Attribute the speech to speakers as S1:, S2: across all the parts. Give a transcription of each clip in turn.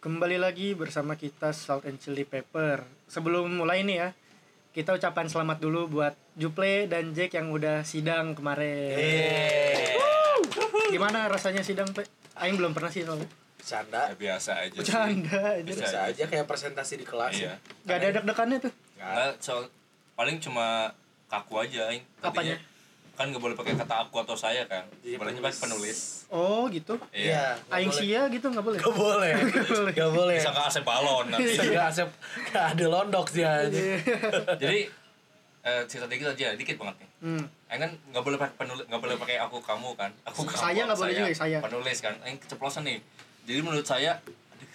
S1: Kembali lagi bersama kita Salt and Chili Pepper. Sebelum mulai nih ya, kita ucapan selamat dulu buat Juple dan Jack yang udah sidang kemarin.
S2: Eh.
S3: Iya.
S1: Gimana rasanya sidang, Pe? Aing belum pernah sih soalnya.
S2: Bercanda.
S3: Ya, biasa aja sih.
S1: Bercanda aja.
S3: Bisa
S2: Bisa
S3: aja.
S2: aja kayak presentasi di kelas.
S3: Iya.
S1: Gak ada deg-degannya tuh.
S2: Nggak.
S3: Nah, soal paling cuma kaku aja aing.
S1: Apanya? Iya,
S3: Tadinya Kan nggak boleh pakai kata aku atau saya kan.
S2: Jadi
S3: Bolehnya
S2: penulis.
S3: pakai penulis.
S1: Oh gitu.
S3: Iya.
S2: Iya.
S1: Aing sia gitu nggak boleh.
S2: Gak boleh.
S1: boleh.
S2: Gak boleh.
S3: Bisa ke asep balon nanti.
S1: Iya.
S2: Bisa gak asep. Gak ada londok sih aja.
S3: Jadi eh, cerita dikit aja, dikit banget nih.
S1: Hmm.
S3: Aing kan nggak boleh pakai penulis, nggak boleh pakai aku kamu kan. Aku kamu.
S1: Saya nggak boleh juga, saya.
S3: Penulis kan. Aing keceplosan nih. Jadi menurut saya aduh,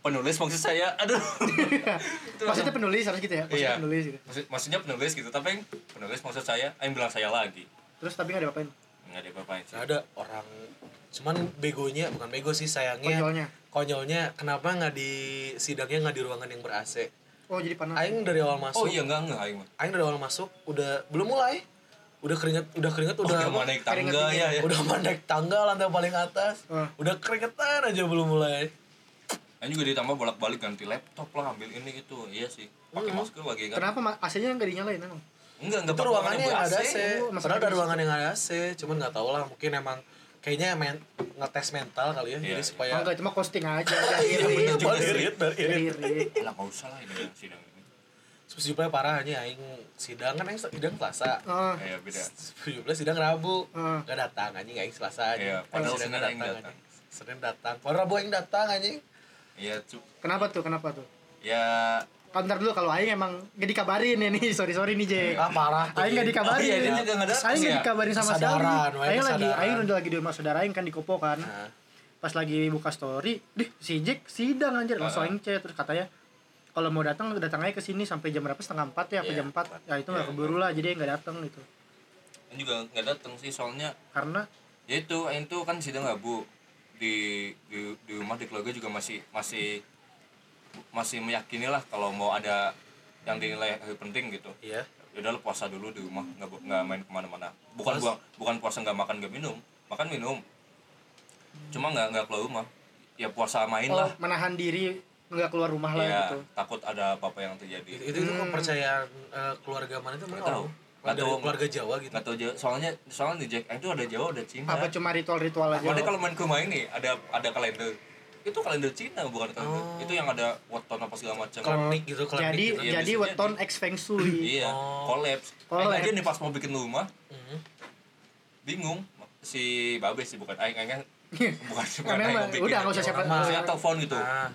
S3: penulis maksud saya aduh. Itu
S1: Maksudnya penulis harus gitu ya. Maksudnya
S3: Iya.
S1: penulis gitu.
S3: Maksud- maksudnya penulis gitu, tapi aing penulis maksud saya, aing bilang saya lagi.
S1: Terus tapi nggak ada apa-apain.
S3: Nggak ada apa-apain sih.
S2: Gak ada orang. Cuman begonya, bukan bego sih sayangnya.
S1: Konyolnya.
S2: Konyolnya, kenapa nggak di sidangnya nggak di ruangan yang ber AC?
S1: Oh jadi panas.
S2: Aing dari awal masuk.
S3: Oh iya enggak enggak aing mah.
S2: Aing dari awal masuk udah belum mulai. Udah keringet, udah keringet,
S3: Oh,
S2: udah
S3: udah mau
S2: apa?
S3: naik tangga
S1: keringat
S3: ya ya.
S2: udah mau naik tangga lantai paling atas.
S1: Ah.
S2: Udah keringetan aja belum mulai.
S3: Aing juga ditambah bolak-balik ganti laptop lah, ambil ini gitu. Iya sih. Pakai masker lagi kan.
S1: Kenapa Mak? AC-nya nggak dinyalain emang?
S3: Enggak
S2: itu
S3: enggak pakai
S2: ruangannya yang ada
S3: ruangan
S2: AC.
S3: yang
S1: Oh, maksudnya
S2: Padahal ada
S1: ada
S2: ruangan yang ada AC, cuman nggak tahu lah mungkin emang kayaknya men ngetes mental kali ya,
S3: Iya,
S2: jadi
S3: iya.
S2: supaya
S1: Oh, enggak, cuma costing aja. Iya,
S2: Iya,
S1: bener juga.
S2: malah irit, malah irit.
S1: Irit.
S3: ber-AC. Alah enggak usah lah ini yang sidang ini.
S2: Supaya parah aja aing sidang kan aing sidang Selasa.
S1: Ah,
S3: Kayak beda.
S2: 17 sidang Rabu.
S1: Ah.
S2: Enggak datang anjing aing Selasa
S3: Iya,
S2: aja.
S3: padahal
S2: Sidangnya
S3: Senin aing datang.
S2: anjing. Senin datang. Padahal Rabu aing datang anjing.
S3: Iya, cu-
S1: kenapa tuh? Kenapa tuh?
S3: ya
S1: Oh, ntar dulu kalau Aing emang gak dikabarin ya nih, sorry sorry nih Jack.
S2: Ah parah. tuh,
S1: Aing gak
S2: jadi.
S1: dikabarin.
S3: Oh, iya, dia juga nggak datang
S1: Aing nggak
S3: ya?
S1: dikabarin sama
S2: Kesadaran,
S1: sekali.
S2: wah,
S1: Aing lagi,
S2: kesadaran.
S1: Aing udah lagi di rumah saudara Aing kan di Kopo kan.
S3: Iya.
S2: Nah,
S1: Pas lagi buka story, deh si Jack sidang anjir
S3: Iya.
S1: langsung Aing chat terus katanya kalau mau datang datang aja ke sini sampai jam berapa setengah empat ya apa
S2: Iya,
S1: jam empat ya itu nggak
S3: Iya,
S1: keburu lah jadi nggak datang gitu
S3: aing juga enggak datang sih soalnya
S1: karena
S3: ya itu aing tuh kan sidang Rabu di di, di rumah di keluarga juga masih masih masih meyakini lah kalau mau ada yang dinilai hari penting gitu.
S2: iya.
S3: Yaudah lu puasa dulu di rumah nggak bo- nggak main kemana-mana bukan buang- bukan puasa nggak makan nggak minum makan minum cuma nggak nggak keluar rumah ya puasa main
S1: oh,
S3: lah
S1: menahan diri nggak keluar rumah lah
S3: ya
S1: gitu
S3: takut ada apa-apa yang terjadi
S2: Itu, itu, itu
S1: Hmm.
S2: kepercayaan eh, keluarga mana itu
S3: Nggak tahu. Nggak
S2: Ada
S3: tahu.
S2: keluarga Jawa gitu.
S3: nggak tahu jauh soalnya soalnya di Jack itu ada Jawa ada Cina
S1: apa cuma ritual-ritual aja
S3: Makanya Iya. kalau main ke rumah ini ada ada kalender itu kalender Cina bukan kalender
S1: Oh.
S3: itu yang ada weton apa segala macam
S2: Klenik gitu, klenik
S1: jadi
S2: gitu.
S3: Iya,
S1: jadi
S3: bisa
S1: weton ex feng shui
S3: iya
S2: Oh.
S3: kolaps
S1: Collapse.
S3: aja nih pas mau bikin rumah
S2: Mhm.
S3: bingung si Babe sih bukan aing aing bukan bukan aing
S1: Memang,
S3: yang bikin
S1: Iya. udah nggak usah siapa Ah.
S2: Orang
S3: saya telepon gitu
S2: Nah,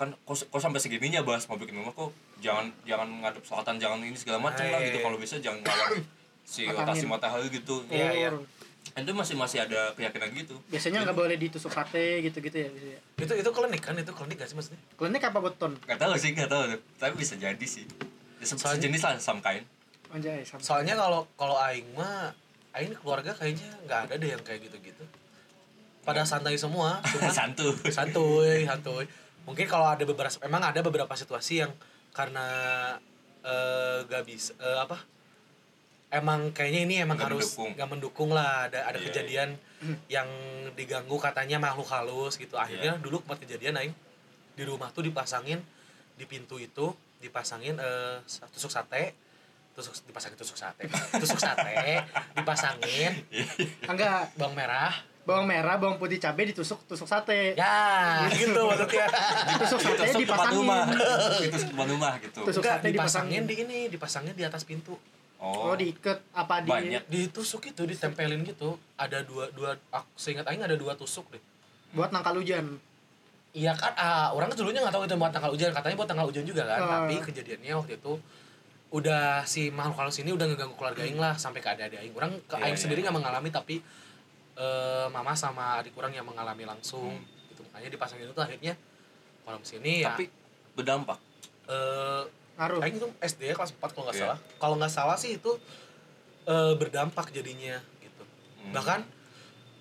S3: kan kok, kok sampai segininya bahas mau bikin rumah kok jangan jangan ngadep selatan jangan ini segala macam lah
S2: Hai.
S3: gitu kalau bisa jangan ngelawan si
S1: Matangin.
S3: rotasi matahari gitu
S2: Iya, iya.
S3: itu masih masih ada keyakinan gitu
S1: biasanya nggak boleh ditusuk sate gitu-gitu ya biasanya.
S2: itu itu klinik kan itu klinik gak sih maksudnya
S1: klinik apa weton
S3: nggak tahu sih nggak tahu tapi bisa jadi sih ya, se-
S2: Soalnya-
S3: sejenis lah some kind
S1: anjay sama
S2: soalnya kalau kalau aing mah aing keluarga kayaknya nggak ada deh yang kayak gitu-gitu pada santai semua cuma
S3: santu
S2: santuy santuy mungkin kalau ada beberapa emang ada beberapa situasi yang karena eh, gak bisa eh, apa emang kayaknya ini emang
S3: Nggak
S2: harus
S3: mendukung.
S2: nggak mendukung lah ada ada
S3: Iya,
S2: kejadian yang diganggu katanya makhluk halus gitu
S3: Iya.
S2: akhirnya dulu sempat kejadian aing di rumah tuh dipasangin di pintu itu dipasangin eh, sa- tusuk sate tusuk dipasangin tusuk sate tusuk sate dipasangin
S3: Iya.
S1: enggak
S2: bawang merah
S1: Ah, bawang merah bawang putih cabai ditusuk tusuk sate
S2: ya gitu maksudnya
S1: tusuk
S3: itu
S1: sate
S3: tempat
S1: dipasangin
S3: rumah itu tempat rumah gitu
S1: Tusuk
S2: Enggak,
S1: sate
S2: dipasangin
S1: dipasangin.
S2: di ini, dipasangin di atas pintu.
S1: oh diikat apa di
S3: Banyak.
S2: Ditusuk itu, ditempelin gitu. Ada dua dua aku seingat aing ada dua tusuk deh.
S1: buat nangkal hujan
S2: Iya kan, ah, orang kan dulunya nggak tahu itu buat tanggal hujan, katanya buat tanggal hujan juga kan.
S1: Ah.
S2: Tapi kejadiannya waktu itu udah si makhluk halus ini udah ngeganggu keluarga aing lah sampai ke ada-ada aing. Orang ke
S3: Iya,
S2: aing
S3: iya.
S2: sendiri nggak mengalami tapi eh, mama sama adik orang yang mengalami langsung. Gitu. Makanya dipasangin itu akhirnya malam sini ya.
S3: tapi berdampak
S2: eh,
S1: ngaruh
S2: Aing itu SD ya, kelas 4 kalau nggak
S3: Iya.
S2: salah. Kalau nggak salah sih itu eh, berdampak jadinya gitu.
S3: Hmm.
S2: Bahkan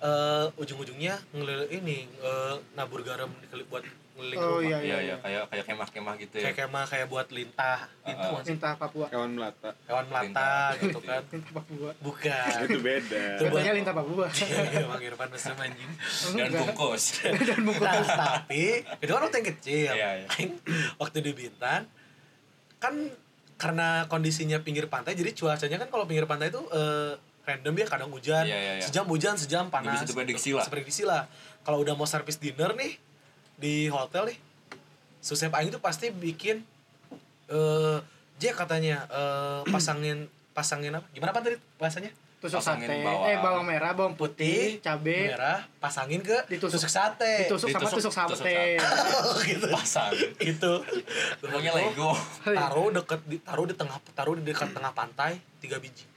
S2: eh, ujung-ujungnya ngelil ini eh, nabur garam dikeli- buat ngeliling
S1: Oh,
S2: rumah
S1: iya,
S3: Iya iya kayak kayak kemah-kemah gitu ya.
S2: kayak kemah kayak buat lintah itu
S3: Ah, ah.
S2: masih
S1: Cinta Papua.
S4: kawan melata
S2: hewan melata
S3: Lintah. Iya. Gitu.
S2: gitu kan
S1: Cinta Papua.
S2: bukan
S4: itu beda
S2: Coba.
S1: Katanya Linta Papua.
S2: Iya, Bang Irfan mesum anjing.
S3: Dan bungkus.
S1: Dan
S2: Nah,
S1: bungkus.
S2: tapi itu kan waktu yang kecil.
S3: Iya, iya.
S2: Aing waktu di Bintan kan karena kondisinya pinggir pantai jadi cuacanya kan kalau pinggir pantai itu eh, random ya kadang hujan,
S3: Iya, iya, iya.
S2: sejam hujan, sejam panas.
S3: bisa diprediksi lah.
S2: Seprediksi lah. Kalau udah mau service dinner nih di hotel nih, Susep Aing tuh pasti bikin eh Jack katanya eh, pasangin pasangin apa? Gimana apa tadi bahasanya?
S1: Tusuk
S3: Pasangin
S1: sate.
S3: bawang.
S1: Eh bawang merah, bawang putih, cabe,
S2: merah, pasangin ke
S1: Ditusuk.
S2: tusuk sate.
S1: ditusuk sama
S3: Ditusuk-
S1: tusuk
S3: tusuk
S1: sate.
S2: gitu.
S3: Pasang.
S2: itu
S3: Pokoknya Lego.
S1: Iya.
S2: taruh deket di, taruh di tengah taruh di dekat tengah pantai tiga biji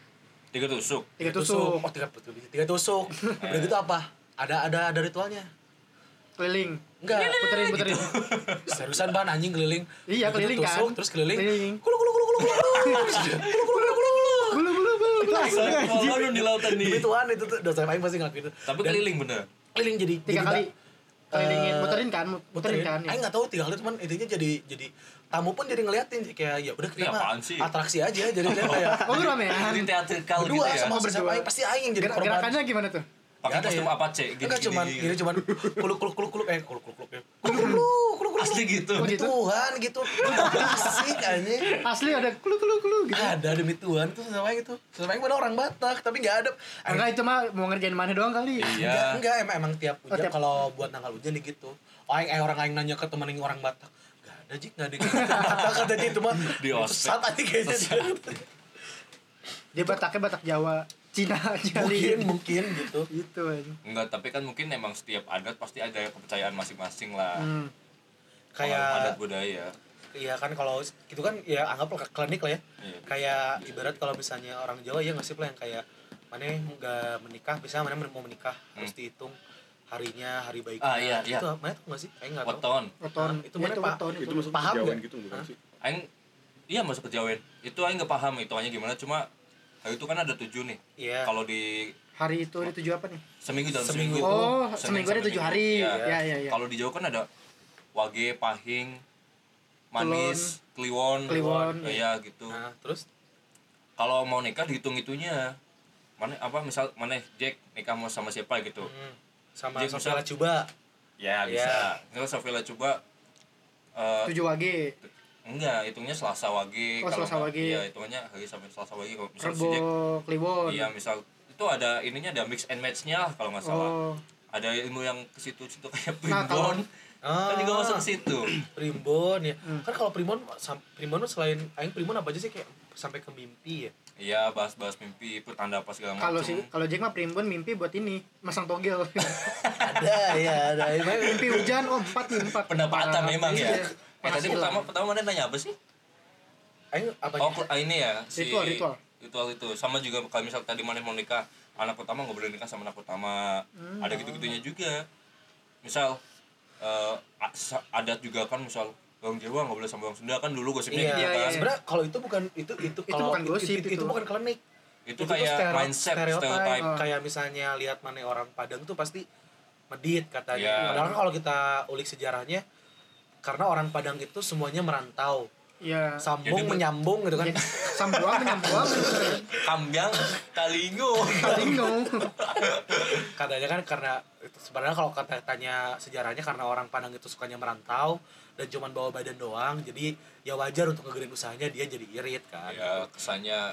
S3: Tiga tusuk.
S1: Tiga tusuk.
S2: oh tiga tiga biji tiga tusuk udah gitu apa ada ada ada ritualnya
S1: Keliling.
S3: Gitu. Iya,
S2: enggak
S1: Puterin, puterin.
S2: seriusan ban anjing keliling
S1: Iya,
S2: Udah gitu
S1: keliling kan.
S2: tusuk, terus keliling
S1: Keliling.
S2: kulu kulu kulu kulu kulu kulu kulu kulu kulu
S1: Bulu, bulu, bulu, bulu.
S3: Kalau di lautan
S2: Demi
S3: nih.
S2: Tuhan itu tuh dosa paling pasti ngelakuin itu
S3: Tapi
S2: Dan
S3: keliling bener.
S2: keliling jadi
S1: Tiga
S2: jadi
S1: kali.
S2: ba-
S1: Kelilingin,
S2: Eh,
S1: muterin kan, muterin kan. ya.
S2: Aing nggak tahu tiga kali cuman intinya jadi jadi tamu pun jadi ngeliatin kayak ya udah
S3: Ini
S2: kita
S3: apaan
S2: mah
S3: sih?
S2: atraksi aja jadi kayak
S1: Oh, lu ramean.
S3: Ini teatrikal gitu
S2: berdua
S3: ya.
S2: sama bersama
S1: Berdua.
S2: Aing pasti Aing yang jadi
S1: Gerak-
S2: korban.
S1: Gerakannya gimana tuh?
S2: Nggak
S3: Pakai
S2: ada
S3: kostum
S2: ya.
S3: apa cek?
S2: Enggak cuman ini cuman kuluk kuluk kuluk kuluk eh kuluk kuluk kuluk kuluk kuluk kuluk kuluk
S3: Asli gitu.
S1: Oh,
S2: demi
S1: gitu?
S2: Tuhan gitu asik aja
S1: Asli ada klu klu klu gitu.
S2: ada demi Tuhan tuh sama Aing itu sama Aing mana orang Batak tapi nggak ada Aing
S1: Enggak itu mah mau ngerjain mana doang kali.
S2: Enggak,
S3: Iya.
S2: enggak emang, emang tiap
S1: Oh,
S2: hujan
S1: tiap-
S2: kalau buat tanggal hujan nih gitu. Oh, aing- eh, orang lain nanya ke temen yang orang Batak. Enggak ada jik, enggak ada yang Batak katanya itu mah.
S3: Di ospek.
S2: Sesat aja kayaknya.
S1: Dia Bataknya Batak Jawa, Cina aja
S2: mungkin, mungkin gitu.
S1: Gitu aja.
S3: Enggak, tapi kan mungkin emang setiap adat pasti ada kepercayaan masing-masing lah.
S1: Hmm.
S3: Pengalaman adat
S2: Kayak
S3: budaya.
S2: iya kan kalau gitu kan ya anggaplah ke klinik lah ya.
S3: Iya.
S2: Kayak ibarat kalau misalnya orang Jawa ya nggak sih lah yang kayak mana enggak menikah, misalnya mana mau menikah harus dihitung harinya, hari baiknya.
S3: Hmm. Ah, iya, iya.
S2: Itu mana tuh enggak sih? Aing enggak tahu.
S3: Weton.
S1: Weton.
S2: Nah, itu mana, Pak?
S1: weton,
S4: itu masuk
S2: Paham
S4: kejauhan
S2: nggak?
S4: gitu bukan
S2: Hah?
S4: sih
S3: Aing iya masuk kejawen. Itu aing nggak paham hitungannya gimana cuma eh, itu kan ada tujuh nih.
S2: Iya.
S3: Kalau di
S1: Hari itu ada tujuh apa nih?
S3: seminggu dalam
S2: Seminggu.
S3: seminggu.
S1: Oh,
S3: Senin
S1: seminggu ada
S3: sampai
S1: tujuh
S3: Minggu.
S1: hari.
S3: Iya.
S1: Ya, ya, ya.
S3: Kalau di Jawa kan ada wage, pahing, manis, kliwon,
S1: Kliwon,
S3: Eh, ya gitu.
S2: Nah, terus
S3: Kalau mau nikah dihitung itunya. Mana apa misal mana Jack nikah mau sama siapa gitu.
S2: hmm, sama
S3: Jadi
S2: Sofia
S3: misal-
S2: Lacuba.
S3: Ya bisa. Kalau Sofila coba eh,
S1: Tujuh wage.
S3: enggak hitungnya Selasa wage
S1: Oh,
S3: kalau
S1: Selasa
S3: nggak-
S1: wage.
S3: Iya, hitungnya hari sampai Selasa wage kalau misal si
S1: Rebo,
S3: Jack
S1: Kliwon.
S3: Iya misal itu ada ininya ada mix and match-nya lah kalau nggak
S1: Oh,
S3: salah. Ada ilmu yang ke situ-situ kayak
S1: Nah, kalau- Ah.
S3: primbon. kan juga masuk ke situ.
S2: Ah, Primbon ya. Kan kalau Primbon sam- Primbon selain aing Primbon apa aja sih kayak sampai ke mimpi ya?
S3: Iya bahas-bahas mimpi, pertanda apa segala macam.
S1: kalau si kalau Jack mah primbon mimpi buat ini, masang togel.
S2: ada
S3: iya,
S2: ya, ada.
S1: mimpi hujan, oh empat nih empat.
S3: pendapatan
S1: Nah,
S3: memang ya.
S1: iya.
S3: Eh tadi
S1: Penghasilan.
S3: pertama pertama mana nanya apa sih?
S2: Aing apa
S3: Oh ah, ini ya si
S1: Ritual, ritual.
S3: ritual itu sama juga kalau misal tadi mana mau nikah anak pertama nggak boleh nikah sama anak pertama
S2: Hmm.
S3: ada gitu-gitunya juga misal eh, a- sa- adat juga kan misal orang Jawa nggak boleh sama orang Sunda kan dulu
S2: Iya,
S3: gosipnya gitu
S2: iya,
S3: kan
S1: iya.
S2: Sebenarnya kalau itu bukan itu itu
S1: Itu
S2: kalau
S1: bukan gosip,
S2: itu,
S1: itu.
S2: bukan klinik.
S3: itu,
S2: Itu tuh
S3: kayak
S2: stereo-
S3: mindset
S2: stereotype. Oh.
S3: stereotype,
S1: Ah.
S2: Kayak misalnya lihat mana orang Padang tuh pasti medit katanya.
S3: Iya.
S2: Padahal kan kalau kita ulik sejarahnya karena orang Padang itu semuanya merantau.
S1: Iya.
S2: Sambung
S3: Jadi-
S2: menyambung gitu kan.
S1: Jack, Sambuang, menyambuang.
S3: kambiang kalingo
S1: Paling dong.
S2: katanya kan karena itu sebenarnya kalau kata tanya sejarahnya karena orang Padang itu sukanya merantau dan cuman bawa badan doang jadi ya wajar untuk ngegedein usahanya dia jadi irit kan
S3: ya kesannya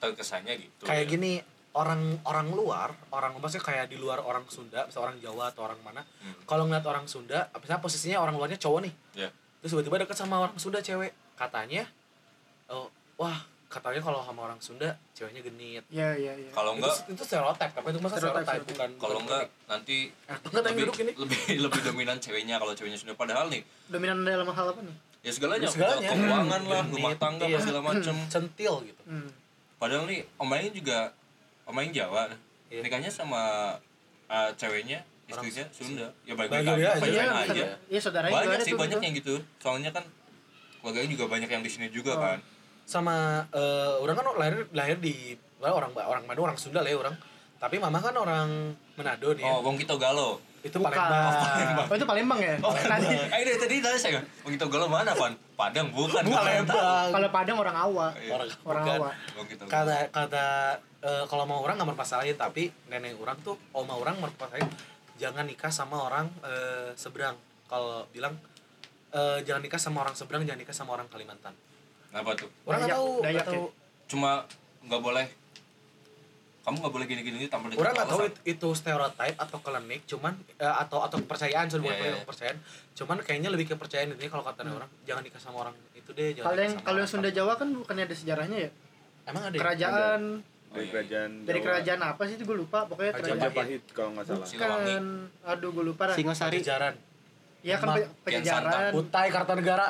S3: terkesannya gitu
S2: kayak
S3: ya.
S2: gini orang orang luar orang maksudnya kayak di luar orang Sunda misal orang Jawa atau orang mana
S3: Hmm.
S2: kalau ngeliat orang Sunda misalnya posisinya orang luarnya cowok nih
S3: ya
S2: terus tiba-tiba deket sama orang Sunda cewek katanya oh, wah katanya kalau sama orang Sunda ceweknya genit
S1: Iya, iya, iya.
S3: kalau enggak
S2: itu, itu stereotip tapi itu masa
S1: Stereotip,
S2: stereotip
S1: stereotip.
S2: bukan
S3: kalau
S2: bukan
S3: enggak
S2: klinik.
S3: nanti
S2: enggak tapi
S3: lebih,
S2: duduk ini
S3: lebih lebih dominan ceweknya kalau ceweknya Sunda padahal nih
S1: Dominan dalam hal apa nih?
S3: ya
S2: Ya,
S3: segalanya,
S2: segalanya.
S3: keuangan lah
S2: Hmm.
S3: rumah tangga
S2: Iya.
S3: apa segala macem
S2: centil gitu
S1: Hmm.
S3: padahal nih om Aing juga om Aing Jawa
S2: Iya.
S3: nikahnya sama eh, ceweknya
S2: Orang
S3: istrinya Sunda ya baik baik
S2: Baik-baik
S3: aja
S2: aja.
S1: Iya,
S3: baik baik
S2: Pengen
S3: aja
S1: iya, iya saudaranya juga
S3: banyak
S1: ada
S3: sih
S1: tuh.
S3: banyak
S1: gitu.
S3: yang gitu soalnya kan keluarganya juga banyak yang di sini juga
S1: Oh.
S3: kan
S2: sama eh, orang kan lahir lahir di orang orang Ba- orang Bandung orang Sunda lah ya orang tapi mama kan orang Manado nih ya.
S3: oh Wong Kito Galo
S2: itu
S1: Bukan.
S2: Palembang
S1: Oh, itu Palembang ya? Tadi
S3: eh dari tadi tadi saya begitu galau mana pan padang bukan
S2: Palembang
S1: kalau Padang orang Awa.
S3: orang
S1: Orang
S2: Bukan.
S1: Awa.
S3: kita
S2: kata kata eh, kalau mau orang nggak mermasalahin tapi nenek orang tuh oma orang mermasalahin jangan nikah sama orang eh, seberang kalau bilang eh, jangan nikah sama orang seberang jangan nikah sama orang Kalimantan
S3: apa tuh
S2: orang nggak
S1: Dayak-
S2: tahu nggak
S1: Dayak ya?
S2: tahu
S3: cuma nggak boleh kamu nggak boleh gini-gini tanpa dikasih
S2: orang nggak tahu
S3: alasan.
S2: it- itu stereotip atau klinik cuman eh, atau atau kepercayaan sudah
S1: Ya,
S2: bukan
S3: Iya,
S2: klinik,
S3: iya.
S2: kepercayaan cuman kayaknya lebih kepercayaan ini kalau kata orang jangan nikah sama orang itu deh jangan
S1: Kalau yang
S2: nikah Iya, sama
S1: kalau
S2: orang
S1: yang Hmm. Sunda Jawa kan bukannya ada sejarahnya ya?
S2: Kalimantan." emang ada ya?
S1: Kerajaan
S3: Oh,
S4: dari
S3: iya.
S4: kerajaan
S1: dari
S4: Jawa.
S1: kerajaan apa sih itu gue lupa pokoknya
S2: Kerajaan
S1: kerajaan
S4: Majapahit kalau nggak salah
S3: Siliwangi.
S1: bukan aduh gue lupa lah
S5: Singosari.
S2: Jajaran
S1: ya kan
S2: Demak,
S1: pe-
S3: Kian Santang,
S1: penjajaran
S2: Kutai Kartanegara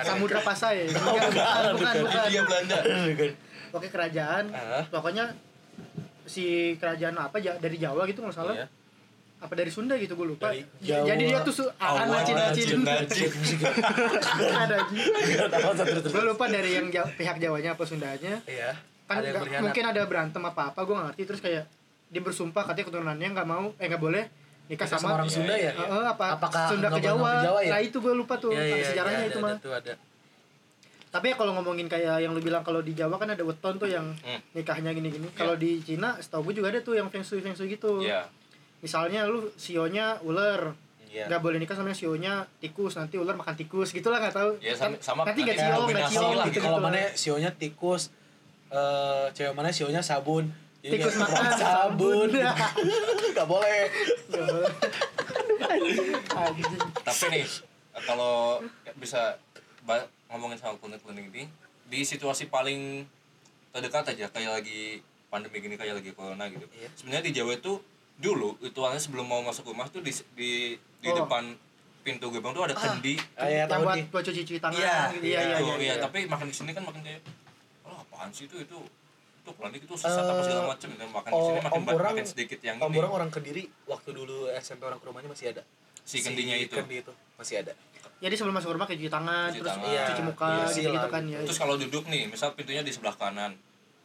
S1: Samudra Pasai bukan bukan bukan, bukan.
S3: India Belanda
S1: Oke kerajaan
S2: Ah.
S1: pokoknya si kerajaan apa ja- dari Jawa gitu kalau salah
S2: Iya.
S1: apa dari Sunda gitu gue lupa
S2: Dari
S1: Ya,
S2: Jawa.
S1: jadi dia tuh su- akan nacin nacin ada gue lupa dari yang Ja- pihak Jawanya apa Sundanya
S2: Iya.
S1: kan
S2: Ada yang
S1: nggak-
S2: berkhianat.
S1: mungkin ada berantem apa apa gue ngerti terus kayak dia bersumpah katanya keturunannya nggak mau eh nggak boleh nikah
S2: Nikah sama
S1: sama,
S2: orang Sunda ya?
S1: Eh, eh, apa
S2: Apakah
S1: Sunda ke
S2: nggak boleh
S1: Jawa,
S2: ke Jawa ya?
S1: nah itu gue lupa tuh
S2: Iya,
S1: ada
S2: iya,
S1: sejarahnya
S2: iya,
S1: itu
S2: ada,
S1: mah
S2: ada tuh, ada.
S1: tapi ya kalau ngomongin kayak yang lu bilang kalau di Jawa kan ada weton tuh yang
S3: Hmm.
S1: nikahnya gini-gini kalau di Cina setahu gue juga ada tuh yang feng shui feng shui gitu
S3: ya
S1: misalnya lu sionya ular
S2: Iya.
S1: nggak boleh nikah sama yang sionya tikus nanti ular makan tikus gitulah nggak tahu
S3: ya
S1: Kan
S3: sama, sama
S1: nanti nggak
S3: ada
S1: ciong nggak
S3: kombinasi
S1: ciong
S3: lah
S1: gitu
S3: gitu.
S2: Kalau mana sionya tikus, eh cewek mana sionya sabun. Jadi
S1: Tikus
S2: kayak
S1: makan
S2: sabun. Gak boleh.
S1: Nggak boleh. Anjing.
S3: tapi nih kalau bisa ba- ngomongin soal klinik klinik ini di situasi paling terdekat aja kayak lagi pandemi gini kayak lagi corona gitu
S2: Iya.
S3: sebenarnya di Jawa itu dulu ritualnya sebelum mau masuk rumah tuh di di, di
S1: Oh.
S3: depan pintu gerbang tuh ada kendi
S2: Ah, iya,
S1: yang
S2: tahu
S1: buat
S2: nih.
S1: buat cuci cuci tangan
S2: Iya,
S1: gitu. iya iya
S3: Tuh,
S1: iya, iya.
S3: iya, tapi makin kesini kan makin kayak oh apaan sih itu itu itu klinik itu sesat apa
S2: Eh,
S3: segala macem dan makin
S2: oh,
S3: kesini makin,
S2: om
S3: ba-
S2: orang-
S3: makin sedikit yang
S2: Om
S3: ini
S2: orang orang kediri waktu dulu SMP orang ke rumahnya masih ada.
S3: si kendinya itu
S2: Kendi itu masih ada.
S1: jadi sebelum masuk rumah kayak cuci tangan
S3: Cuci
S1: terus
S3: tangan.
S1: cuci muka
S2: Iya,
S1: gitu gitu
S2: silang.
S1: kan ya
S3: Terus kalau duduk nih, misal pintunya di sebelah kanan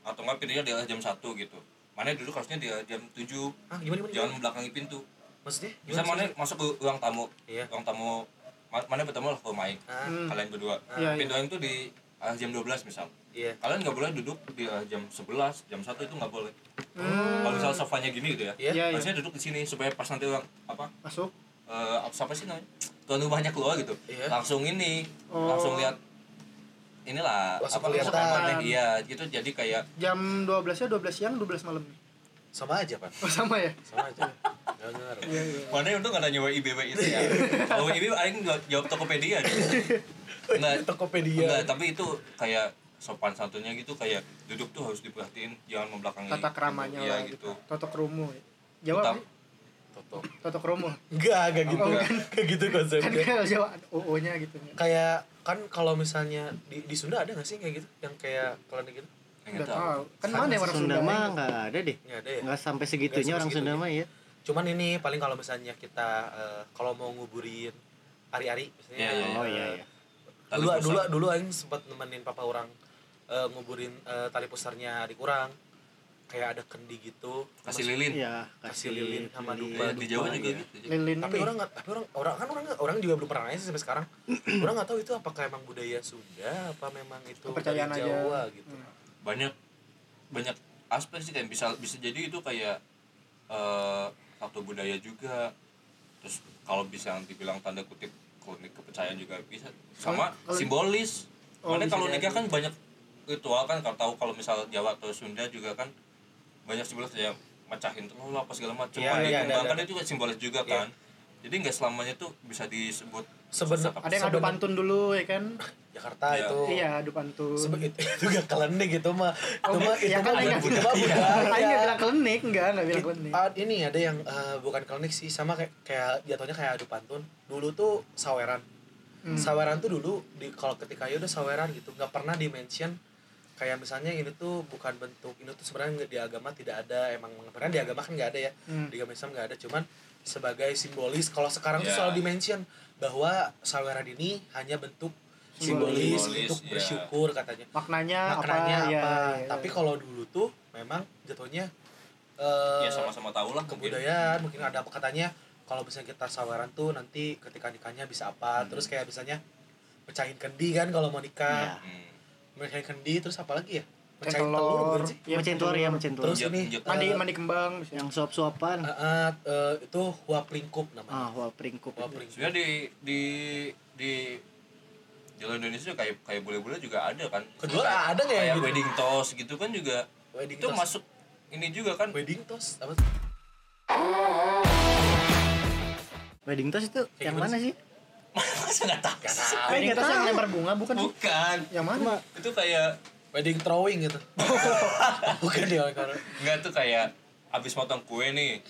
S3: atau enggak pintunya di arah jam 1 gitu. Mana duduk harusnya di arah jam 7,
S2: Ah, gimana gimana?
S3: jangan membelakangi pintu.
S2: Maksudnya?
S3: Bisa
S2: Gimana,
S3: mana masuk ke ruang tamu. ya,
S2: Iya.
S3: Ruang tamu ma- mana bertemu lah ke Mike,
S2: Ah,
S1: Hmm.
S3: kalian berdua.
S1: Iya,
S3: Pintu yang itu di arah jam 12 misal.
S2: iya.
S3: Kalian nggak boleh duduk di arah jam 11, jam 1 itu nggak boleh.
S1: Hmm.
S3: Kalau misal sofanya gini gitu ya.
S2: Iya.
S1: Iya, iya.
S3: Harusnya duduk di sini supaya pas nanti orang apa
S1: masuk
S3: eh, apa siapa sih namanya? Tuan rumahnya keluar gitu.
S2: Iya.
S3: Langsung ini,
S1: Oh.
S3: langsung lihat inilah
S2: Langsung
S3: apa
S2: kelihatan.
S3: kesopanan. iya gitu jadi kayak
S1: jam 12 nya 12 siang 12 malam
S2: Sama aja, Pak.
S1: oh sama ya
S2: Sama aja. Gak ngaruh.
S1: iya iya
S3: Mana untung gak nanya IBW itu ya. Kalau IBW aing jawab- jawab Tokopedia gitu. Enggak, enggak,
S2: Tokopedia.
S3: tapi itu kayak sopan santunnya gitu kayak duduk tuh harus diperhatiin jangan membelakangi
S1: tata keramanya
S3: iya,
S1: lah gitu
S3: gitu.
S1: toto kromo Jawa
S3: Tetap
S1: apa sih?
S2: Toto.
S1: toto kromo
S2: Enggak, enggak gitu.
S1: Oh,
S3: enggak.
S2: Enggak gitu
S1: kan
S2: konsepnya.
S1: kalau Jawa oo nya gitu
S2: Kayak kan kalau misalnya di, di Sunda ada nggak sih kayak gitu yang kayak kalau gitu?
S3: Enggak
S1: nggak
S3: tahu.
S1: tahu kan mana yang orang Sunda
S5: Sunda mah
S1: yang-
S5: nggak ada deh.
S2: Nggak ada ya.
S5: Nggak sampai segitunya
S2: Nggak
S5: orang
S2: sampai
S5: Sunda mah
S4: iya.
S5: ya.
S2: Cuman ini paling kalau misalnya kita eh, kalau mau nguburin ari-ari misalnya.
S3: Iya, iya,
S5: Oh
S2: eh,
S5: iya ya.
S3: Tali
S2: Dulu
S3: pusar.
S2: dulu dulu aing sempat nemenin papa orang eh, nguburin eh, tali pusarnya adik orang. Kayak ada kendi gitu.
S3: kasih lilin.
S5: Iya,
S2: kasih lilin sama dupa.
S3: Iya, di Jawa juga
S2: Iya.
S3: gitu. Jadi,
S1: lilin
S2: tapi
S1: ini.
S2: orang nggak tapi orang orang kan orang nggak- orang juga belum pernah nanya sih sampai sekarang orang nggak tahu itu apakah emang budaya Sunda apa memang itu
S1: Kepercayaan
S2: dari
S1: aja.
S2: Jawa gitu
S1: Hmm.
S3: Banyak banyak aspek sih kayak bisa bisa jadi itu kayak eh satu budaya juga. Terus kalau bisa nanti bilang tanda kutip klinik kepercayaan juga bisa sama
S1: Kalau- kalau-
S3: simbolis.
S1: Oh,
S3: Mana
S1: bisa
S3: kalau
S1: jadi.
S3: nikah kan banyak ritual kan kalau tahu kalau misal Jawa atau Sunda juga kan banyak simbolis ya mecahin telur lah apa segala macam.
S2: Iya,
S3: Kan
S2: iya,
S3: dikembangkan
S2: ada, ada.
S3: itu kan simbolis juga
S2: Iya.
S3: kan. Jadi nggak selamanya tuh bisa disebut
S2: Sebenar-
S3: sesat apa
S1: ada yang adu
S2: Sebenarnya-
S1: pantun dulu ya kan
S2: Jakarta
S3: Iya.
S2: itu
S1: iya adu pantun
S2: Sebe- itu itu gak kelenik gitu mah itu
S1: Oh,
S2: mah itu
S1: ya
S2: mah
S1: kan
S2: ada
S1: enggak
S2: budaya budaya.
S1: Aing nggak bilang klinik, enggak, enggak bilang klinik.
S2: Ah, ini ada yang eh, bukan klinik sih sama kayak kayak jatuhnya kayak adu pantun dulu tuh saweran
S1: Hmm.
S2: saweran tuh dulu di kalau ketika ya udah saweran gitu nggak pernah di mention kayak misalnya ini tuh bukan bentuk ini tuh sebenarnya nggak- di agama tidak ada emang sebenarnya di agama kan nggak ada ya
S1: Hmm.
S2: di agama Islam nggak ada cuman sebagai simbolis kalau sekarang tuh
S3: Ya.
S2: selalu di mention bahwa saweran ini hanya bentuk
S1: Simbolis.
S2: simbolis, untuk
S3: Simbolis, ya.
S2: bersyukur katanya
S1: Maknanya, Iya,
S2: maknanya
S1: apa?
S2: apa,
S1: ya, ya.
S2: tapi kalau dulu tuh memang jatuhnya eh,
S3: ya sama-sama tahu lah mungkin.
S2: kebudayaan mungkin ada apa katanya kalau misalnya kita saweran tuh nanti ketika nikahnya bisa apa
S3: Hmm.
S2: terus kayak misalnya pecahin kendi kan kalau mau nikah
S3: Hmm.
S2: pecahin kendi terus apa lagi ya
S1: Pecahin
S2: pecahin telur, bukan sih?
S1: Iya,
S4: Mencin telur ya, mencin telur.
S2: terus
S3: Injek-
S2: ini
S3: injek.
S2: eh,
S1: mandi mandi kembang misalnya.
S4: Yang suap-suapan.
S2: eh, eh, eh, itu huap lingkup namanya
S4: Ah, wah peringkup.
S2: huap
S4: itu.
S2: lingkup
S3: sebenarnya di di di jalur Indonesia juga kayak kayak bule-bule juga ada kan
S2: Kedua
S3: Kayak-
S2: ada nggak yang
S3: kayak
S2: gitu?
S3: iya, wedding toast gitu kan juga
S2: wedding
S3: itu
S2: toast.
S3: masuk ini juga kan
S2: wedding toast apa tuh?
S4: Wedding toast itu
S2: Kayak
S4: yang
S2: gimana
S4: mana sih?
S3: masa nggak tahu
S2: Nggak
S3: sih?
S2: tahu.
S1: Wedding
S4: nggak
S1: toast yang
S4: tahu.
S1: lempar bunga bukan sih?
S3: bukan
S1: Yang mana?
S3: itu kayak
S2: wedding throwing gitu bukan ya, dia orang
S3: nggak tuh kayak abis motong kue nih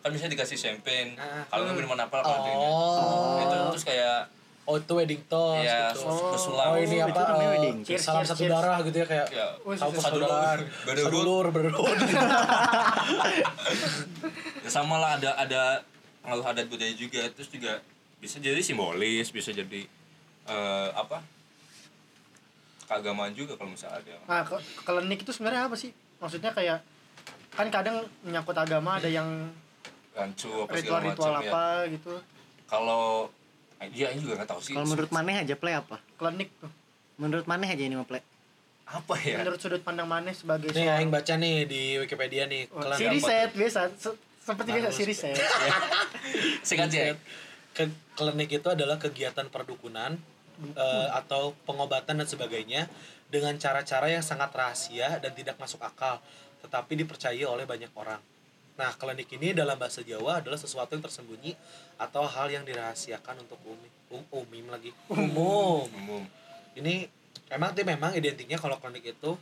S3: kan bisa dikasih champagne
S2: Ah,
S3: kalau nggak minuman apel kalau oh.
S2: oh
S3: itu terus kayak
S2: oh itu wedding toast
S3: ya
S2: gitu.
S1: Oh.
S3: kesulap
S2: oh ini
S4: itu
S2: apa
S4: namanya
S2: eh,
S4: wedding.
S1: Cheers,
S2: salam
S1: cheers,
S2: satu
S1: cheers.
S2: darah gitu ya kayak
S3: ya
S1: Oh,
S2: salam
S1: satu
S2: satu
S3: darah.
S2: darah
S3: Badut.
S2: sadulur badut
S3: Ya sama lah ada ada pengaruh adat budaya juga terus juga bisa jadi simbolis bisa jadi eh, apa keagamaan juga kalau misalnya ada
S1: Nah, ke kelenik itu sebenarnya apa sih? Maksudnya kayak kan kadang menyangkut agama ada yang
S3: rancu apa segala macam
S1: ritual-ritual
S3: ya
S1: apa gitu.
S3: kalau dia ini juga nggak tahu sih
S4: Kalau menurut Maneh aja play apa?
S1: Kelenik tuh.
S4: Menurut Maneh aja ini mah play.
S3: apa ya
S1: Menurut sudut pandang Maneh sebagai
S2: Nih
S1: seorang
S2: Aing baca nih di Wikipedia nih
S1: Oh,
S2: kelan
S1: Siri
S3: apa
S1: set biasa se- seperti biasa
S2: Harus.
S1: Siri set.
S3: singkat ya. aja
S2: Iya. Ke- Klinik itu adalah kegiatan perdukunan
S3: Hmm.
S2: eh, atau pengobatan dan sebagainya dengan cara-cara yang sangat rahasia dan tidak masuk akal, tetapi dipercaya oleh banyak orang. Nah, klinik ini dalam bahasa Jawa adalah sesuatu yang tersembunyi atau hal yang dirahasiakan untuk umum, um, umum lagi, umum.
S3: umum
S2: Ini emang dia memang identiknya kalau klinik itu